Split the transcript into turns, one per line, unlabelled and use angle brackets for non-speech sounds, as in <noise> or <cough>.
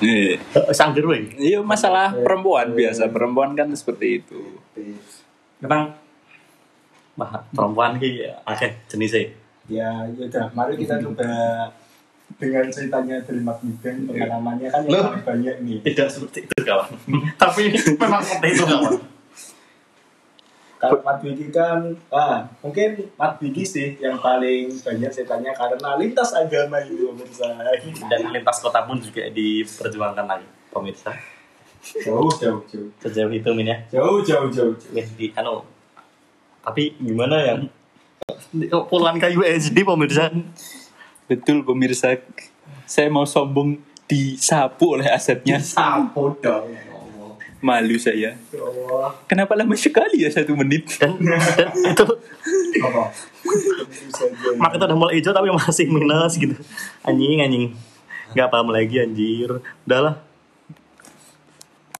Iya.
Eh, Sangger weh.
Iya masalah perempuan biasa perempuan kan seperti itu.
Memang Wah, perempuan ki akeh jenisnya.
Ya, yaudah. Mari kita coba dengan ceritanya dari Mak Biben, pengalamannya kan yang
Loh.
paling banyak nih.
Tidak seperti itu kawan. <laughs> Tapi memang seperti itu kawan.
Kalau Mat Widi kan, ah, mungkin Mat Widi sih yang paling banyak ceritanya karena lintas agama itu pemirsa.
Dan lintas kota pun juga diperjuangkan lagi pemirsa.
Jauh, jauh, jauh,
Sejauh itu min ya.
jauh, jauh, jauh. jauh.
Wis di anu. Tapi gimana ya? yang Pulan kayu SD pemirsa
Betul pemirsa. Saya mau sombong disapu oleh asetnya.
Sampun dong.
Malu saya.
Ya Allah.
Kenapa lama sekali ya satu menit?
dan, dan itu
Apa?
market udah mulai hijau tapi masih minus gitu anjing anjing nggak paham lagi anjir udahlah